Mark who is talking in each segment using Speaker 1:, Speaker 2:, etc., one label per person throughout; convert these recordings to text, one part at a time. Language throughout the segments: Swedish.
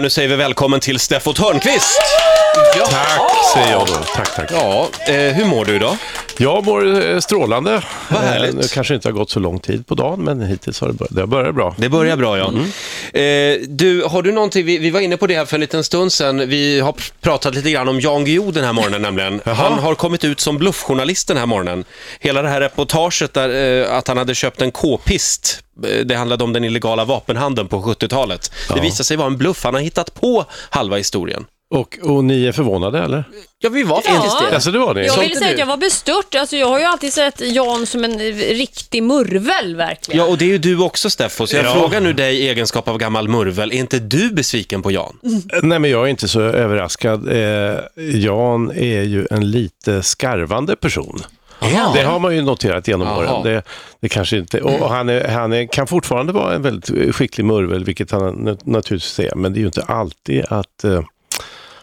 Speaker 1: Nu säger vi välkommen till Steffo Törnqvist!
Speaker 2: Tack säger jag då. Tack, tack.
Speaker 1: Ja, eh, hur mår du idag?
Speaker 2: Jag mår eh, strålande.
Speaker 1: Vad
Speaker 2: Eh,
Speaker 1: härligt.
Speaker 2: Det kanske inte har gått så lång tid på dagen, men hittills har det börjat, det har börjat bra.
Speaker 1: Det börjar bra, ja. Mm. Eh, du, har du någonting, vi, vi var inne på det här för en liten stund sedan, vi har pr- pratat lite grann om Jan Guillou den här morgonen nämligen. Han har kommit ut som bluffjournalist den här morgonen. Hela det här reportaget där, eh, att han hade köpt en k-pist, eh, det handlade om den illegala vapenhandeln på 70-talet. Det visade sig vara en bluff, han har hittat på halva historien.
Speaker 2: Och, och ni är förvånade, eller?
Speaker 1: Ja, vi var faktiskt
Speaker 3: Ja.
Speaker 1: det.
Speaker 2: Alltså, det var ni?
Speaker 3: Jag
Speaker 1: Sånt
Speaker 3: vill
Speaker 1: är
Speaker 3: säga
Speaker 1: du.
Speaker 3: att jag var bestört. Alltså, jag har ju alltid sett Jan som en eh, riktig murvel, verkligen.
Speaker 1: Ja, och det är ju du också Steffo, så jag
Speaker 2: Ja.
Speaker 1: frågar nu dig i egenskap av gammal murvel, är inte du besviken på Jan?
Speaker 2: Nej, men jag är inte så överraskad. Eh, Jan är ju en lite skarvande person.
Speaker 1: Ja.
Speaker 2: Det har man ju noterat genom
Speaker 1: Jaha.
Speaker 2: åren. Det, det kanske inte, och och han, är, han är, kan fortfarande vara en väldigt eh, skicklig murvel, vilket han nat- naturligtvis är, men det är ju inte alltid att eh,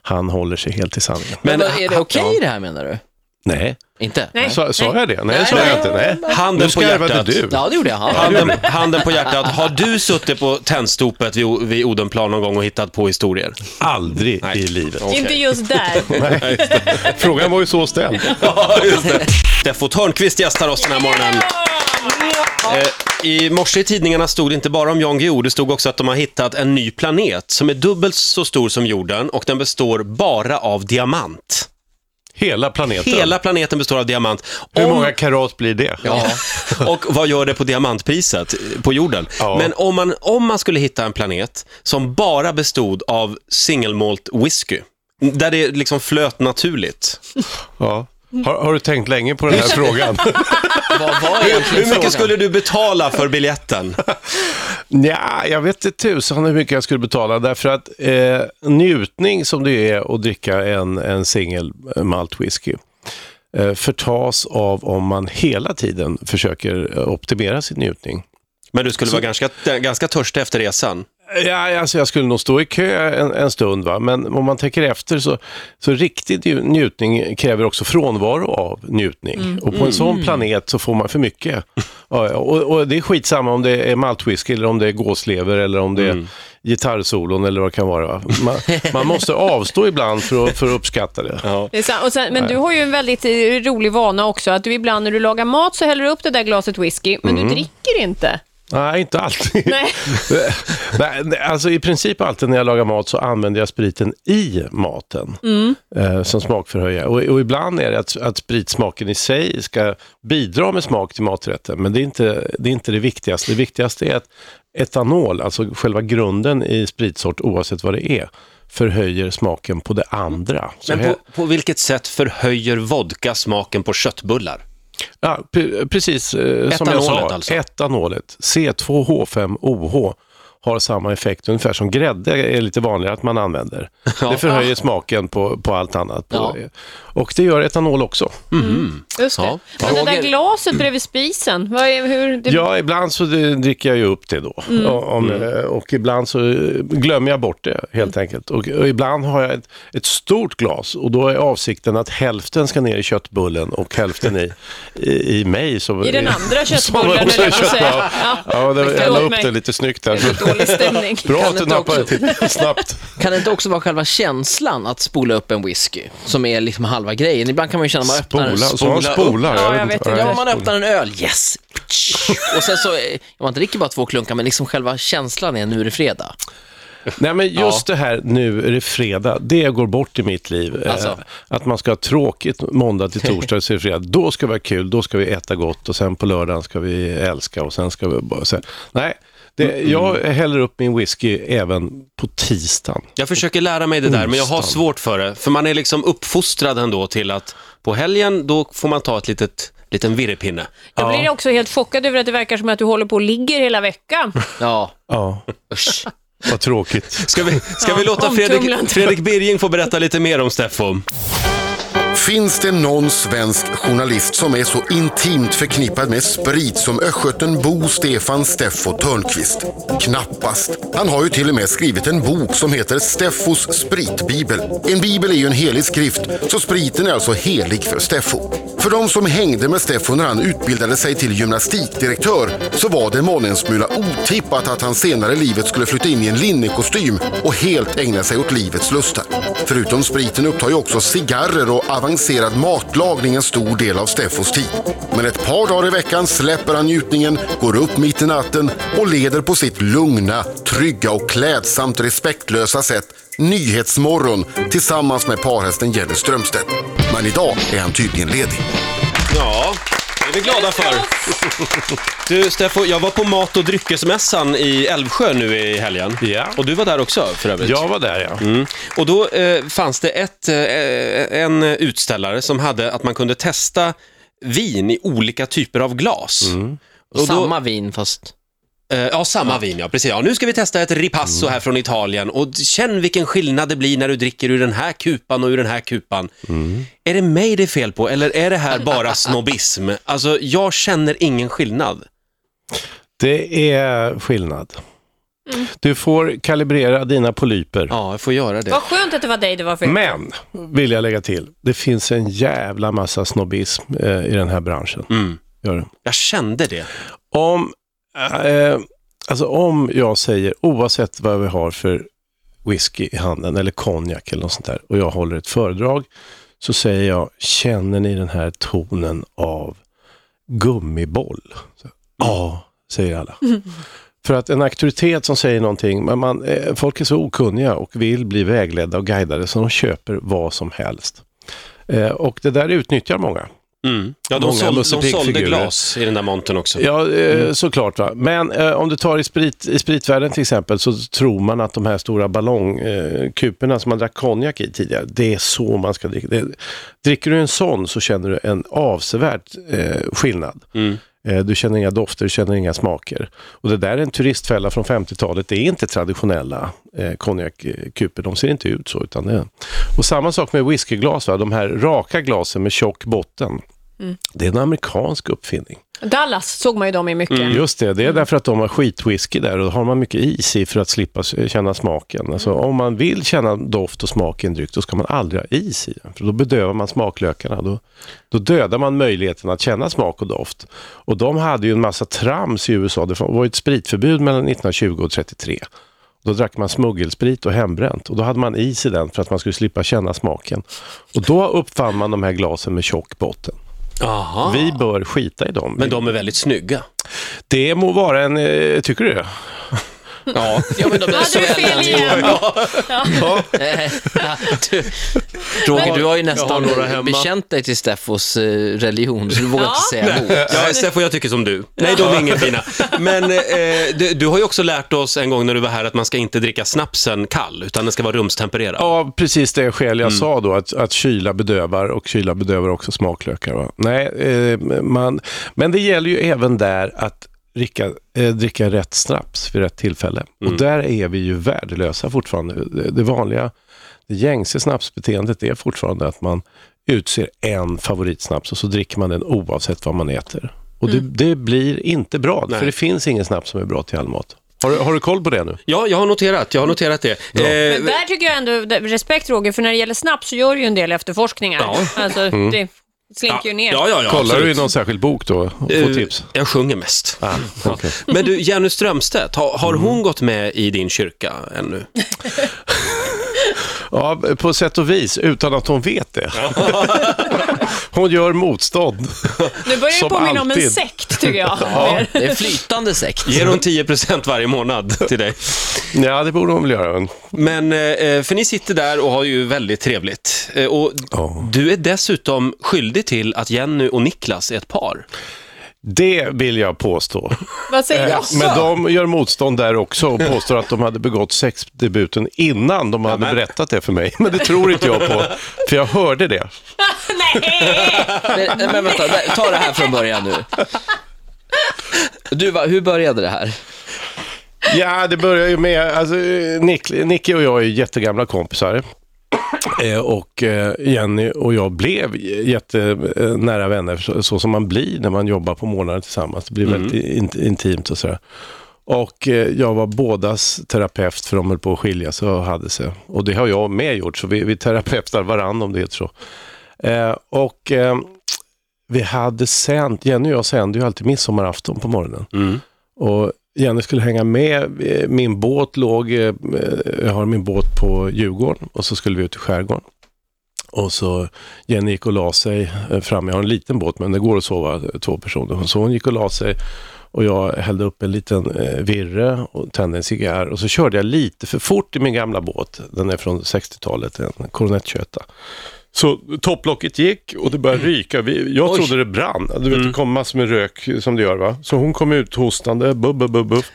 Speaker 2: han håller sig helt till sanningen.
Speaker 4: Men,
Speaker 1: Men
Speaker 4: vad- är det okej det här menar du?
Speaker 2: Nej,
Speaker 4: Inte?
Speaker 3: Nej.
Speaker 2: sa, sa jag det? Nej,
Speaker 4: Nej,
Speaker 2: sa jag
Speaker 4: nej.
Speaker 2: inte. Nej.
Speaker 1: Handen
Speaker 2: nu
Speaker 1: på
Speaker 2: skarvade
Speaker 1: hjärtat.
Speaker 2: du.
Speaker 4: Ja, det gjorde jag. Ja.
Speaker 1: Handen, handen på hjärtat, har du suttit på tändstopet vid, O- vid Odenplan någon gång och hittat på historier?
Speaker 2: Aldrig
Speaker 1: Nej.
Speaker 2: i livet.
Speaker 3: Inte just där.
Speaker 2: Nej. Frågan var ju så ställd.
Speaker 1: Ja, just det. Steffo Törnqvist gästar oss den här morgonen. Eh, I morse i tidningarna stod det inte bara om Jan Guillou, det stod också att de har hittat en ny planet som är dubbelt så stor som jorden och den består bara av diamant.
Speaker 2: Hela planeten.
Speaker 1: Hela planeten består av diamant.
Speaker 2: Hur
Speaker 1: Om-
Speaker 2: många karat blir det?
Speaker 1: Ja. Och vad gör det på diamantpriset eh, på jorden?
Speaker 2: Ja.
Speaker 1: Men om man, om man skulle hitta en planet som bara bestod av single malt whisky, där det liksom flöt naturligt.
Speaker 2: Ja. Har, har du tänkt länge på den här frågan?
Speaker 4: Vad var
Speaker 1: Hur
Speaker 4: egentligen
Speaker 1: mycket
Speaker 4: frågan?
Speaker 1: skulle du betala för biljetten?
Speaker 2: Nja, jag vet inte tusan hur mycket jag skulle betala. Därför att eh, njutning som det är att dricka en, en singel eh, malt whisky eh, förtas av om man hela tiden försöker eh, optimera sin njutning.
Speaker 1: Men du skulle vara ganska, ganska törstig efter resan.
Speaker 2: Ja, alltså jag skulle nog stå i kö en, en stund, va? men om man tänker efter så, så riktig nju- njutning kräver också frånvaro av njutning. Och på en sån planet så får man för mycket. Ja, ja, och, och det är skitsamma om det är maltwhisky eller om det är gåslever eller om det är gitarrsolon eller vad det kan vara. Va? Man, man måste avstå ibland för att, för att uppskatta det.
Speaker 3: Det är sant. Och sen, men du har ju en väldigt eh, rolig vana också, att du ibland när du lagar mat så häller du upp det där glaset whisky, men
Speaker 1: Mm.
Speaker 3: du dricker inte.
Speaker 2: Nej, inte alltid.
Speaker 3: Nej.
Speaker 2: Nej, nej, alltså i princip alltid när jag lagar mat så använder jag spriten i maten
Speaker 1: Mm.
Speaker 2: eh, som smakförhöjare. Och, och ibland är det att, att spritsmaken i sig ska bidra med smak till maträtten, men det är inte det, är inte det viktigaste. Det viktigaste är att etanol, alltså själva grunden i spritsort, oavsett vad det är, förhöjer smaken på det andra. Så
Speaker 1: Men
Speaker 2: här-
Speaker 1: på, på vilket sätt förhöjer vodka smaken på köttbullar?
Speaker 2: Ja, p- precis eh, som jag
Speaker 1: Etanolet
Speaker 2: sa.
Speaker 1: alltså.
Speaker 2: Etanolet, C2H5OH, har samma effekt ungefär som grädde är lite vanligare att man använder. Det förhöjer smaken på, på allt annat. På, Och det gör etanol också.
Speaker 3: Just det.
Speaker 1: Ja.
Speaker 3: Och det där
Speaker 4: Roger-
Speaker 3: glaset bredvid spisen, vad är, hur... Det, Mm.
Speaker 2: Ja, ibland så eh, dricker jag ju upp det då. Och, om,
Speaker 4: Mm.
Speaker 2: eh, och ibland så eh, glömmer jag bort det helt enkelt. Och, och ibland har jag ett, ett stort glas och då är avsikten att hälften ska ner i köttbullen och hälften i, i, i mig. Som,
Speaker 3: I den
Speaker 2: är-
Speaker 3: andra
Speaker 2: som
Speaker 3: köttbullen,
Speaker 2: också
Speaker 3: eller
Speaker 2: är
Speaker 3: vad man säger.
Speaker 2: köttbullar.
Speaker 3: Ja.
Speaker 2: Ja, det, jag la
Speaker 3: Förlåt
Speaker 2: upp
Speaker 3: mig.
Speaker 2: det lite snyggt där.
Speaker 3: Dålig stämning.
Speaker 2: Bra att du
Speaker 4: inte
Speaker 2: nappade
Speaker 4: också-
Speaker 2: till snabbt.
Speaker 4: Kan det inte också vara själva känslan att spola upp en whisky, som är liksom halva grejen? Ibland kan man ju känna att man öppnar...
Speaker 2: Spola, sa han
Speaker 4: upp.
Speaker 2: spola?
Speaker 3: Ja, jag vet inte.
Speaker 4: Ja,
Speaker 2: Nej.
Speaker 4: man öppnar en öl, yes! Och sen så, eh, man dricker bara två klunkar, men liksom själva känslan är nu är det fredag.
Speaker 2: Nej, men just det här nu är det fredag, det går bort i mitt liv. Eh,
Speaker 4: Alltså.
Speaker 2: Att man ska ha tråkigt måndag till torsdag till fredag. Då ska vi ha kul, då ska vi äta gott och sen på lördagen ska vi älska och sen ska vi bara... Sen. Nej, det, jag häller upp min whisky även på tisdagen.
Speaker 1: Jag försöker lära mig det där, men jag har
Speaker 2: Onsdag.
Speaker 1: svårt för det. För man är liksom uppfostrad ändå till att på helgen, då får man ta ett litet, liten virrepinne.
Speaker 3: Jag blir också helt chockad över att det verkar som att du håller på och ligger hela veckan.
Speaker 4: Ja,
Speaker 2: Ja,
Speaker 4: usch.
Speaker 2: vad tråkigt.
Speaker 1: Ska vi, ska vi låta
Speaker 3: omtumlande.
Speaker 1: Fredrik, Fredrik Birging få berätta lite mer om Steffo?
Speaker 5: Finns det någon svensk journalist som är så intimt förknippad med sprit som östgöten Bo Stefan Steffo Törnqvist? Knappast. Han har ju till och med skrivit en bok som heter Steffos spritbibel. En bibel är ju en helig skrift, så spriten är alltså helig för Steffo. För de som hängde med Steffo när han utbildade sig till gymnastikdirektör så var det månne en smula otippat att han senare i livet skulle flytta in i en linnekostym och helt ägna sig åt livets lustar. Förutom spriten upptar ju också cigarrer och avancerad matlagning en stor del av Steffos tid. Men ett par dagar i veckan släpper han njutningen, går upp mitt i natten och leder på sitt lugna, trygga och klädsamt respektlösa sätt Nyhetsmorgon tillsammans med parhästen Jenny Strömstedt. Men idag är han tydligen ledig.
Speaker 1: Ja, det är vi glada för. Du, Steffo, jag var på mat och dryckesmässan i Älvsjö nu i helgen.
Speaker 2: Ja.
Speaker 1: Och du var där också för övrigt.
Speaker 2: Jag var där ja.
Speaker 1: Mm. Och då eh, fanns det ett, eh, en utställare som hade att man kunde testa vin i olika typer av glas. Och då-
Speaker 4: Samma vin fast...
Speaker 1: Eh, ja, Mm. samma vin, ja. Precis. Ja, nu ska vi testa ett ripasso här från Italien och känn vilken skillnad det blir när du dricker ur den här kupan och ur den här kupan. Är det mig det är fel på eller är det här bara snobbism? Alltså, jag känner ingen skillnad.
Speaker 2: Det är skillnad. Du får kalibrera dina polyper.
Speaker 1: Ja, jag får göra det.
Speaker 3: Vad skönt att det var dig det var
Speaker 1: Mm.
Speaker 3: fel.
Speaker 2: Men, vill jag lägga till, det finns en jävla massa snobbism eh, i den här branschen.
Speaker 1: Mm.
Speaker 2: Gör det.
Speaker 1: Jag kände det.
Speaker 2: Om, eh, alltså om jag säger, oavsett vad vi har för whisky i handen, eller konjak eller något sånt där, och jag håller ett föredrag, så säger jag, känner ni den här tonen av gummiboll? Så, Ja, säger alla. För att en auktoritet som säger någonting, men man, eh, folk är så okunniga och vill bli vägledda och guidade så de köper vad som helst. Eh, och det där utnyttjar många.
Speaker 1: Mm. Ja, de,
Speaker 2: Många
Speaker 1: såld,
Speaker 2: Musse
Speaker 1: de sålde
Speaker 2: Pigg-figurer.
Speaker 1: glas i den där montern också.
Speaker 2: Ja, eh, såklart. Va? Men eh, om du tar i, sprit, i spritvärlden till exempel så tror man att de här stora ballongkuporna eh, kuporna som man drack konjak i tidigare, det är så man ska dricka. Det, dricker du en sån så känner du en avsevärd eh, skillnad. Eh, Du känner inga dofter, du känner inga smaker. Och det där är en turistfälla från 50-talet. Det är inte traditionella eh, konjakkuper. De ser inte ut så. Utan det... Och samma sak med whiskyglas. Va? De här raka glasen med tjock botten. Det är en amerikansk uppfinning.
Speaker 3: Dallas såg man ju dem i mycket.
Speaker 1: Mm.
Speaker 2: Just det, det är därför att de har skitwhisky där och då har man mycket is i för att slippa s- känna smaken. Alltså, om man vill känna doft och smak i en dryck, då ska man aldrig ha is i den. För då bedövar man smaklökarna. Då, då dödar man möjligheten att känna smak och doft. Och de hade ju en massa trams i USA. Det var ju ett spritförbud mellan 1920 och 33. Då drack man smuggelsprit och hembränt och då hade man is i den för att man skulle slippa känna smaken. Och då uppfann man de här glasen med tjock botten.
Speaker 1: Aha.
Speaker 2: Vi bör skita i dem.
Speaker 1: Men de är väldigt snygga.
Speaker 2: Det må vara en... eh, Tycker du det?
Speaker 1: Ja.
Speaker 4: Ja, men de är
Speaker 3: Hade du fel igen?
Speaker 4: Eh, du, Roger, du har ju nästan
Speaker 1: några hemma.
Speaker 4: bekänt dig till Steffos eh, religion, så du vågar inte säga emot.
Speaker 1: Ja, Steffo, jag tycker som du. Nej, de är inga fina. Men eh, du, du har ju också lärt oss en gång när du var här att man ska inte dricka snapsen kall, utan den ska vara rumstempererad.
Speaker 2: Ja, precis det skäl jag sa då, att, att kyla bedövar och kyla bedövar också smaklökar. Va? Nej, eh, man, men det gäller ju även där att dricka, eh, dricka rätt snaps vid rätt tillfälle. Och där är vi ju värdelösa fortfarande. Det, det vanliga, det gängse snapsbeteendet är fortfarande att man utser en favoritsnaps och så dricker man den oavsett vad man äter. Och det, det blir inte bra,
Speaker 1: Nej.
Speaker 2: för det finns ingen snaps som är bra till all mat. Har, du- har du koll på det nu?
Speaker 1: Ja, jag har noterat, jag har noterat det. Eh,
Speaker 3: Men där tycker jag ändå, respekt Roger, för när det gäller snaps så gör du ju en del efterforskningar.
Speaker 1: Ja.
Speaker 3: Alltså,
Speaker 2: Mm.
Speaker 3: det slinker ju ner.
Speaker 1: Ja, ja, ja,
Speaker 2: Kollar du
Speaker 1: absolut.
Speaker 2: i någon särskild bok då och får
Speaker 1: Eh,
Speaker 2: tips?
Speaker 1: Jag sjunger mest.
Speaker 2: Ah, okay.
Speaker 1: Men du, Jenny Strömstedt, har, har hon gått med i din kyrka ännu?
Speaker 2: Ja, på sätt och vis, utan att hon vet det. Hon gör motstånd.
Speaker 3: Nu börjar det
Speaker 2: Som
Speaker 3: påminna om en
Speaker 2: alltid.
Speaker 3: sekt tycker jag.
Speaker 4: Det är en flytande sekt.
Speaker 1: Ger hon 10% varje månad till dig?
Speaker 2: Ja, det borde hon väl göra.
Speaker 1: Men, eh, för ni sitter där och har ju väldigt trevligt. Eh, Och
Speaker 2: Ja.
Speaker 1: du är dessutom skyldig till att Jenny och Niklas är ett par.
Speaker 2: Det vill jag påstå.
Speaker 3: Vad säger du?
Speaker 2: Eh, Men de gör motstånd där också och påstår att de hade begått sexdebuten innan de hade berättat det för mig. Men det tror inte jag på, för jag hörde det.
Speaker 3: Nej!
Speaker 4: Men, eh, men vänta, där- ta det här från början nu. Du, va, hur började det här?
Speaker 2: Ja, det börjar ju med, alltså eh, Nick, Nicky och jag är ju jättegamla kompisar. Eh, Och eh, Jenny och jag blev jättenära vänner, så, så som man blir när man jobbar på månader tillsammans. Det blir väldigt in, intimt och sådär. Och eh, jag var bådas terapeut, för de höll på att skilja sig och hade sig. Och det har jag med gjort, så vi, vi terapeutar varandra om det heter så. Eh, Och eh, vi hade sänt, Jenny och jag sände ju alltid midsommarafton på morgonen. Och Jenny skulle hänga med. Eh, Min båt låg, eh, jag har min båt på Djurgården och så skulle vi ut i skärgården. Och så Jenny gick och la sig eh, fram. Jag har en liten båt men det går att sova eh, två personer. Så hon gick och la sig och jag hällde upp en liten eh, virre och tände en cigarr. Och så körde jag lite för fort i min gamla båt. Den är från 60-talet, en Coronet 21. Så topplocket gick och det började ryka. Vi, jag trodde det brann. Du vet, det kom massor med rök som det gör va. Så hon kom ut hostande, buff, buff, buff, buff.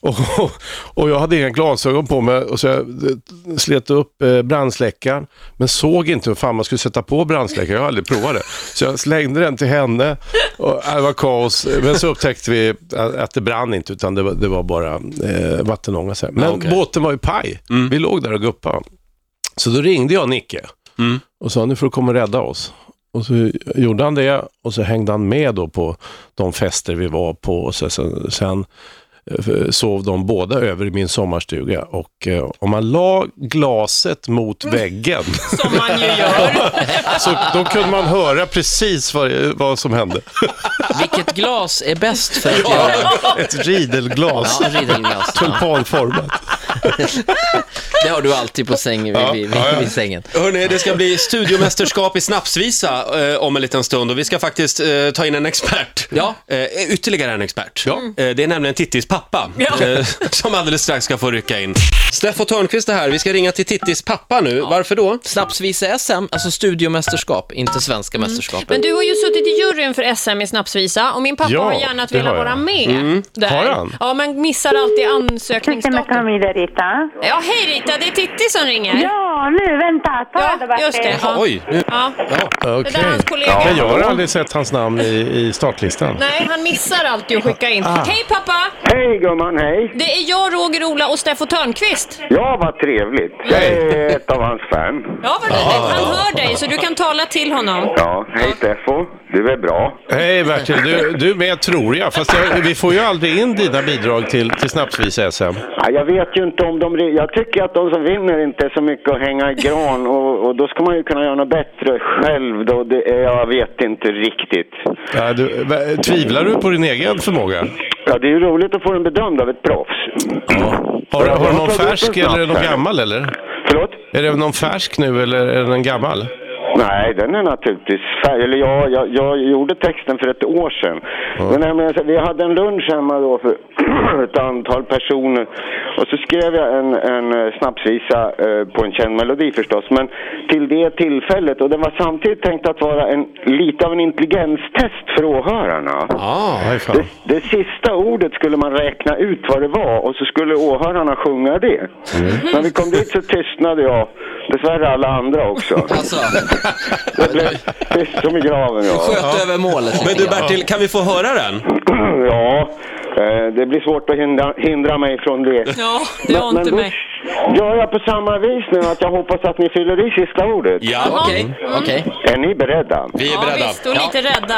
Speaker 2: Och, och jag hade inga glasögon på mig och så jag eh, slet upp eh, brandsläckaren. Men såg inte hur fan man skulle sätta på brandsläckaren. Jag har aldrig provat det. Så jag slängde den till henne och äh, det var kaos. Men så upptäckte vi att, att det brann inte utan det var, det var bara eh, vattenånga. så här. Men
Speaker 1: okej.
Speaker 2: båten var ju paj. Vi låg där och guppade. Så då ringde jag Nicke och sa nu får du komma och rädda oss. Och så gjorde han det och så hängde han med då på de fester vi var på och så, sen, sen eh, sov de båda över i min sommarstuga och eh, om man la glaset mot
Speaker 3: Mm.
Speaker 2: väggen
Speaker 3: Som man ju gör.
Speaker 2: så då kunde man höra precis vad, vad som hände.
Speaker 4: Vilket glas är bäst för att göra...
Speaker 2: Ett ridelglas,
Speaker 4: Ja, ridelglas. Ja.
Speaker 2: tulpanformat.
Speaker 4: Det har du alltid på sängen, vid, vid, vid, vid sängen.
Speaker 1: Hörni, det ska bli studiomästerskap i snapsvisa eh, om en liten stund och vi ska faktiskt eh, ta in en expert.
Speaker 4: Ja.
Speaker 1: Eh, ytterligare en expert.
Speaker 2: Ja.
Speaker 1: Eh, det är nämligen Tittis pappa
Speaker 3: Ja.
Speaker 1: eh, som alldeles strax ska få rycka in. Steffo Törnqvist är här. Vi ska ringa till Tittis pappa nu. Varför då?
Speaker 4: Snapsvisa-SM, alltså studiomästerskap, inte svenska
Speaker 1: Mm.
Speaker 4: mästerskap.
Speaker 3: Men du har ju suttit i juryn för SM i snapsvisa och min pappa
Speaker 2: Ja,
Speaker 3: har gärna
Speaker 2: det
Speaker 3: velat
Speaker 2: har jag. Mm.
Speaker 3: vara med. Där.
Speaker 2: Har han?
Speaker 3: Ja, man missar alltid ansökningsdatum.
Speaker 6: Tack det Rita.
Speaker 3: Ja, hej Rita, det är Titti som ringer.
Speaker 6: Ja, nu vänta. Ta det
Speaker 3: Ja,
Speaker 6: bara.
Speaker 3: just det. Ja.
Speaker 1: Oj, nu.
Speaker 3: Ja.
Speaker 2: Okej.
Speaker 3: där är hans kollega.
Speaker 2: Men jag har aldrig sett hans namn i, i startlistan.
Speaker 3: Nej, han missar alltid att skicka in.
Speaker 2: Ah.
Speaker 3: Hej pappa!
Speaker 7: Hej gumman, hej!
Speaker 3: Det är jag, Roger, Ola och Steffo Törnqvist.
Speaker 7: Ja, vad trevligt. Jag är ett av hans fan.
Speaker 3: Ja, vad roligt. Han hör dig, så du kan tala till honom.
Speaker 7: Ja, hej Steffo. Du är bra.
Speaker 2: Hej Bertil, du, du är med tror jag. Fast jag, vi får ju aldrig in dina bidrag till, till Snapsvis-SM.
Speaker 7: Ja, jag vet ju inte om de... re- Jag tycker att de som vinner inte är så mycket att hänga i gran och, och då ska man ju kunna göra något bättre själv då. Det är, jag vet inte riktigt.
Speaker 2: Ja, du, va- tvivlar du på din egen förmåga?
Speaker 7: Ja, det är ju roligt att få den bedömd av ett proffs.
Speaker 2: Har, har du någon
Speaker 7: Jag plockat upp
Speaker 2: färsk
Speaker 7: en
Speaker 2: eller är det
Speaker 7: snaps
Speaker 2: någon
Speaker 7: här.
Speaker 2: gammal eller?
Speaker 7: Förlåt?
Speaker 2: Är det någon färsk nu eller är det en gammal?
Speaker 7: Nej, den är naturligtvis färg. Eller jag, jag, jag gjorde texten för ett år sedan. Men nämligen, så- vi hade en lunch hemma då för ett antal personer. Och så skrev jag en, en eh, snapsvisa eh, på en känd melodi förstås. Men till det tillfället, och den var samtidigt tänkt att vara en, lite av en intelligenstest för åhörarna.
Speaker 1: Ah.
Speaker 2: Nej, fan.
Speaker 7: Det, det sista ordet skulle man räkna ut vad det var och så skulle åhörarna sjunga det. När vi kom dit så tystnade jag. Dessvärre alla andra också.
Speaker 4: Alltså,
Speaker 7: Det blev tyst som i graven, ja.
Speaker 4: sköt över målet.
Speaker 1: Ah. Men
Speaker 4: lite
Speaker 1: du
Speaker 4: grann.
Speaker 1: Bertil, kan vi få höra den?
Speaker 7: Ja, eh, det blir svårt att hindra, hindra mig från det.
Speaker 3: Ja, du har inte
Speaker 7: då
Speaker 3: mig.
Speaker 7: gör jag på samma vis nu att jag hoppas att ni fyller i sista ordet.
Speaker 1: Ja,
Speaker 4: Okej, okej.
Speaker 7: Är ni beredda?
Speaker 1: vi är
Speaker 3: Ja,
Speaker 1: beredda.
Speaker 3: visst, och lite rädda.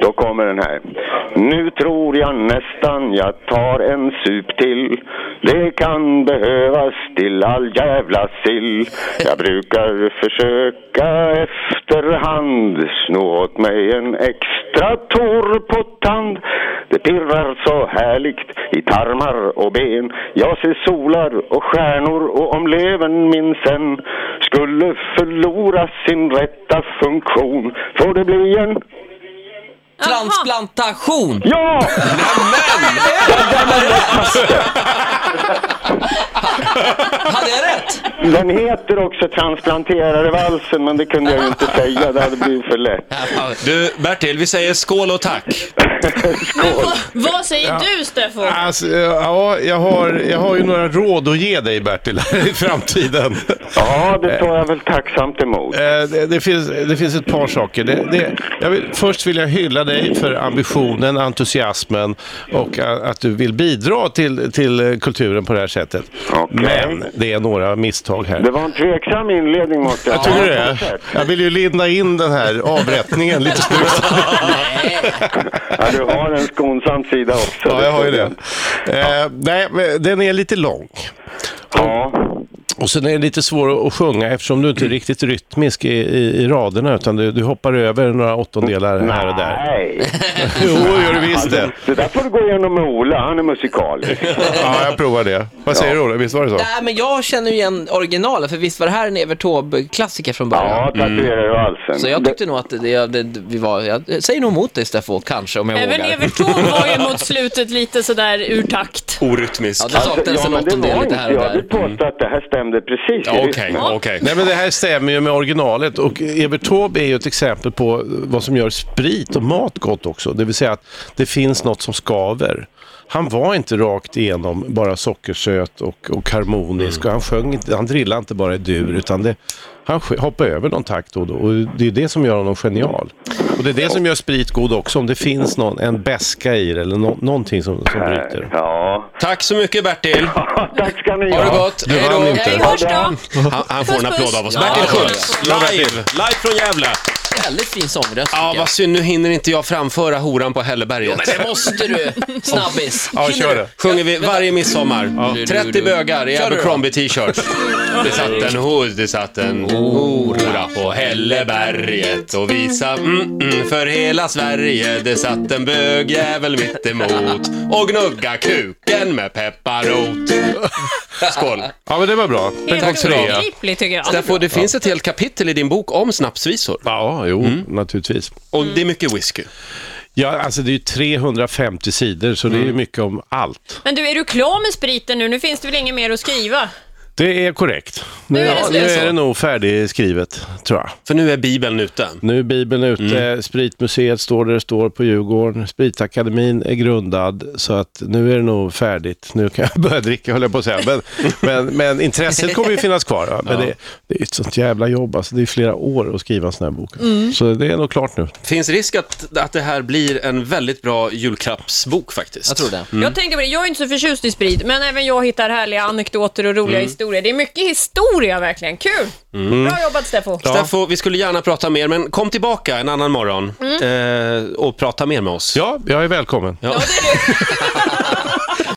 Speaker 7: Då kommer den här. Nu tror jag nästan jag tar en sup till. Det kan behövas till all jävla sill. Jag brukar försöka efterhand sno åt mig en extra torr pottand. Det pirrar så härligt i tarmar och ben. Jag ser solar och stjärnor och om levern min sen skulle förlora sin rätta funktion får det bli en
Speaker 4: Transplantation!
Speaker 7: Ja!
Speaker 4: Hade jag rätt?
Speaker 7: Den heter också Transplanterade valsen, men det kunde jag ju inte säga. Det hade blivit för lätt.
Speaker 1: Du Bertil, vi säger skål och tack.
Speaker 3: Men vad, vad säger du, Steffo?
Speaker 2: Alltså, ja, jag har, jag har ju några råd att ge dig Bertil i framtiden.
Speaker 7: Ja, det tar jag väl tacksamt emot.
Speaker 2: Eh, Det, det, finns, det finns ett par saker. Det, det, jag vill, först vill jag hylla dig för ambitionen, entusiasmen och a- att du vill bidra till, till eh, kulturen på det här sättet.
Speaker 7: Okej.
Speaker 2: Men det är några misstag här.
Speaker 7: Det var en tveksam inledning måste jag
Speaker 2: Jag tycker
Speaker 7: på
Speaker 2: det.
Speaker 7: något sätt.
Speaker 2: Jag vill ju linda in den här avrättningen lite snyggt.
Speaker 7: Ja, du har en skonsam sida också.
Speaker 2: Ja, jag har ju det. Eh, nej, men den är lite lång.
Speaker 7: Ja,
Speaker 2: Och sen är det lite svår att sjunga eftersom du inte är riktigt rytmisk i, i, i raderna utan du, du hoppar över några åttondelar här och där.
Speaker 7: nej.
Speaker 2: Jo, gör du visst
Speaker 7: Alltså,
Speaker 2: det.
Speaker 7: det där får du gå igenom med Ola, han är musikalisk.
Speaker 2: Ja, jag provar det. Vad säger du Ola? Visst var det så?
Speaker 4: Nej, men jag känner ju igen originalet, för visst var det här en Evert Taube-klassiker från början?
Speaker 7: Ja,
Speaker 2: Mm.
Speaker 7: tatuerar du halsen.
Speaker 4: Så jag tyckte nog att det, det, det, vi var... Jag säger nog emot dig, Steffo, kanske, om jag
Speaker 3: Även
Speaker 4: vågar.
Speaker 3: Evert Taube var ju mot slutet lite sådär ur takt.
Speaker 1: Orytmisk.
Speaker 4: Ja, det saknades
Speaker 7: ja,
Speaker 4: en
Speaker 7: men det
Speaker 4: åttondel
Speaker 7: var
Speaker 4: lite
Speaker 7: inte,
Speaker 4: här och
Speaker 7: jag vill
Speaker 4: där.
Speaker 7: påstå att det här stämde precis. i
Speaker 1: Ja, Okej,
Speaker 7: rytmen.
Speaker 1: okej.
Speaker 2: Nej, men det här stämmer ju med originalet och Evert Taube är ju ett exempel på vad som gör sprit och mat gott också. Det vill säga att det finns något som skaver. Han var inte rakt igenom bara sockersöt och, och harmonisk och han sjöng inte, han drillade inte bara i dur utan det, han sk- hoppade över någon takt då och då och det är det som gör honom genial. Och det är det som gör sprit god också, om det finns någon, en beska i det eller nå- någonting som, som bryter.
Speaker 7: Ja,
Speaker 1: Tack så mycket Bertil.
Speaker 7: tack ska ni
Speaker 1: Ha det
Speaker 7: ha.
Speaker 1: gott.
Speaker 2: Du
Speaker 1: Hej
Speaker 2: vann
Speaker 1: då.
Speaker 2: inte.
Speaker 3: Vi hörs då!
Speaker 1: Han, han får en
Speaker 3: Puss,
Speaker 1: applåd
Speaker 3: puss.
Speaker 1: av oss.
Speaker 4: Ja,
Speaker 1: Bertil
Speaker 4: det var
Speaker 1: Schultz, live, live från Gävle.
Speaker 4: Väldigt fin sångröst,
Speaker 1: Ja,
Speaker 4: tycker jag.
Speaker 1: vad synd, nu hinner inte jag framföra horan på Hälleberget.
Speaker 4: Men det måste du! Snabbis!
Speaker 2: Ja, kör det.
Speaker 1: Sjunger vi varje midsommar. 30 bögar i Abercrombie t-shirt. Det satt en hor, det satt en hora på Hälleberget och visa mm, mm, för hela Sverige. Det satt en bögjävel mitt emot och gnugga kuken med pepparrot. Skål!
Speaker 2: Ja, men det var bra.
Speaker 3: Helt
Speaker 1: ska du ha.
Speaker 3: obegripligt tycker jag.
Speaker 1: Därför, det finns ett helt kapitel i din bok om snapsvisor.
Speaker 2: Ja, jo,
Speaker 3: Mm.
Speaker 2: naturligtvis.
Speaker 1: Och det är mycket whisky.
Speaker 2: Ja, alltså det är ju 350 sidor så
Speaker 3: Mm.
Speaker 2: det är mycket om allt.
Speaker 3: Men du, är du klar med spriten nu? Nu finns det väl inget mer att skriva?
Speaker 2: Det är korrekt. Nu,
Speaker 3: är det slut.
Speaker 2: nu är det nog färdigskrivet, tror jag.
Speaker 1: För nu är Bibeln ute.
Speaker 2: Nu är Bibeln ute,
Speaker 3: Mm.
Speaker 2: Spritmuseet står där det står på Djurgården, Spritakademin är grundad, så att nu är det nog färdigt. Nu kan jag börja dricka, höll jag på att säga. Men, men, men intresset kommer ju finnas kvar. va? Men det, det är ett sånt jävla jobb, alltså. det är flera år att skriva en sån här bok.
Speaker 3: Mm.
Speaker 2: Så det är nog klart nu.
Speaker 1: Finns risk att, att det här blir en väldigt bra julklappsbok faktiskt.
Speaker 4: Jag tror det.
Speaker 3: Jag tänker på det, jag är inte så förtjust i sprit, men även jag hittar härliga anekdoter och
Speaker 1: Mm.
Speaker 3: roliga historier. Det är mycket historia verkligen. Kul! Bra jobbat Steffo!
Speaker 1: Steffo, vi skulle gärna prata mer, men kom tillbaka en annan
Speaker 4: Mm.
Speaker 1: morgon eh, och prata mer med oss.
Speaker 2: Ja, jag är välkommen.
Speaker 3: Ja, det är du.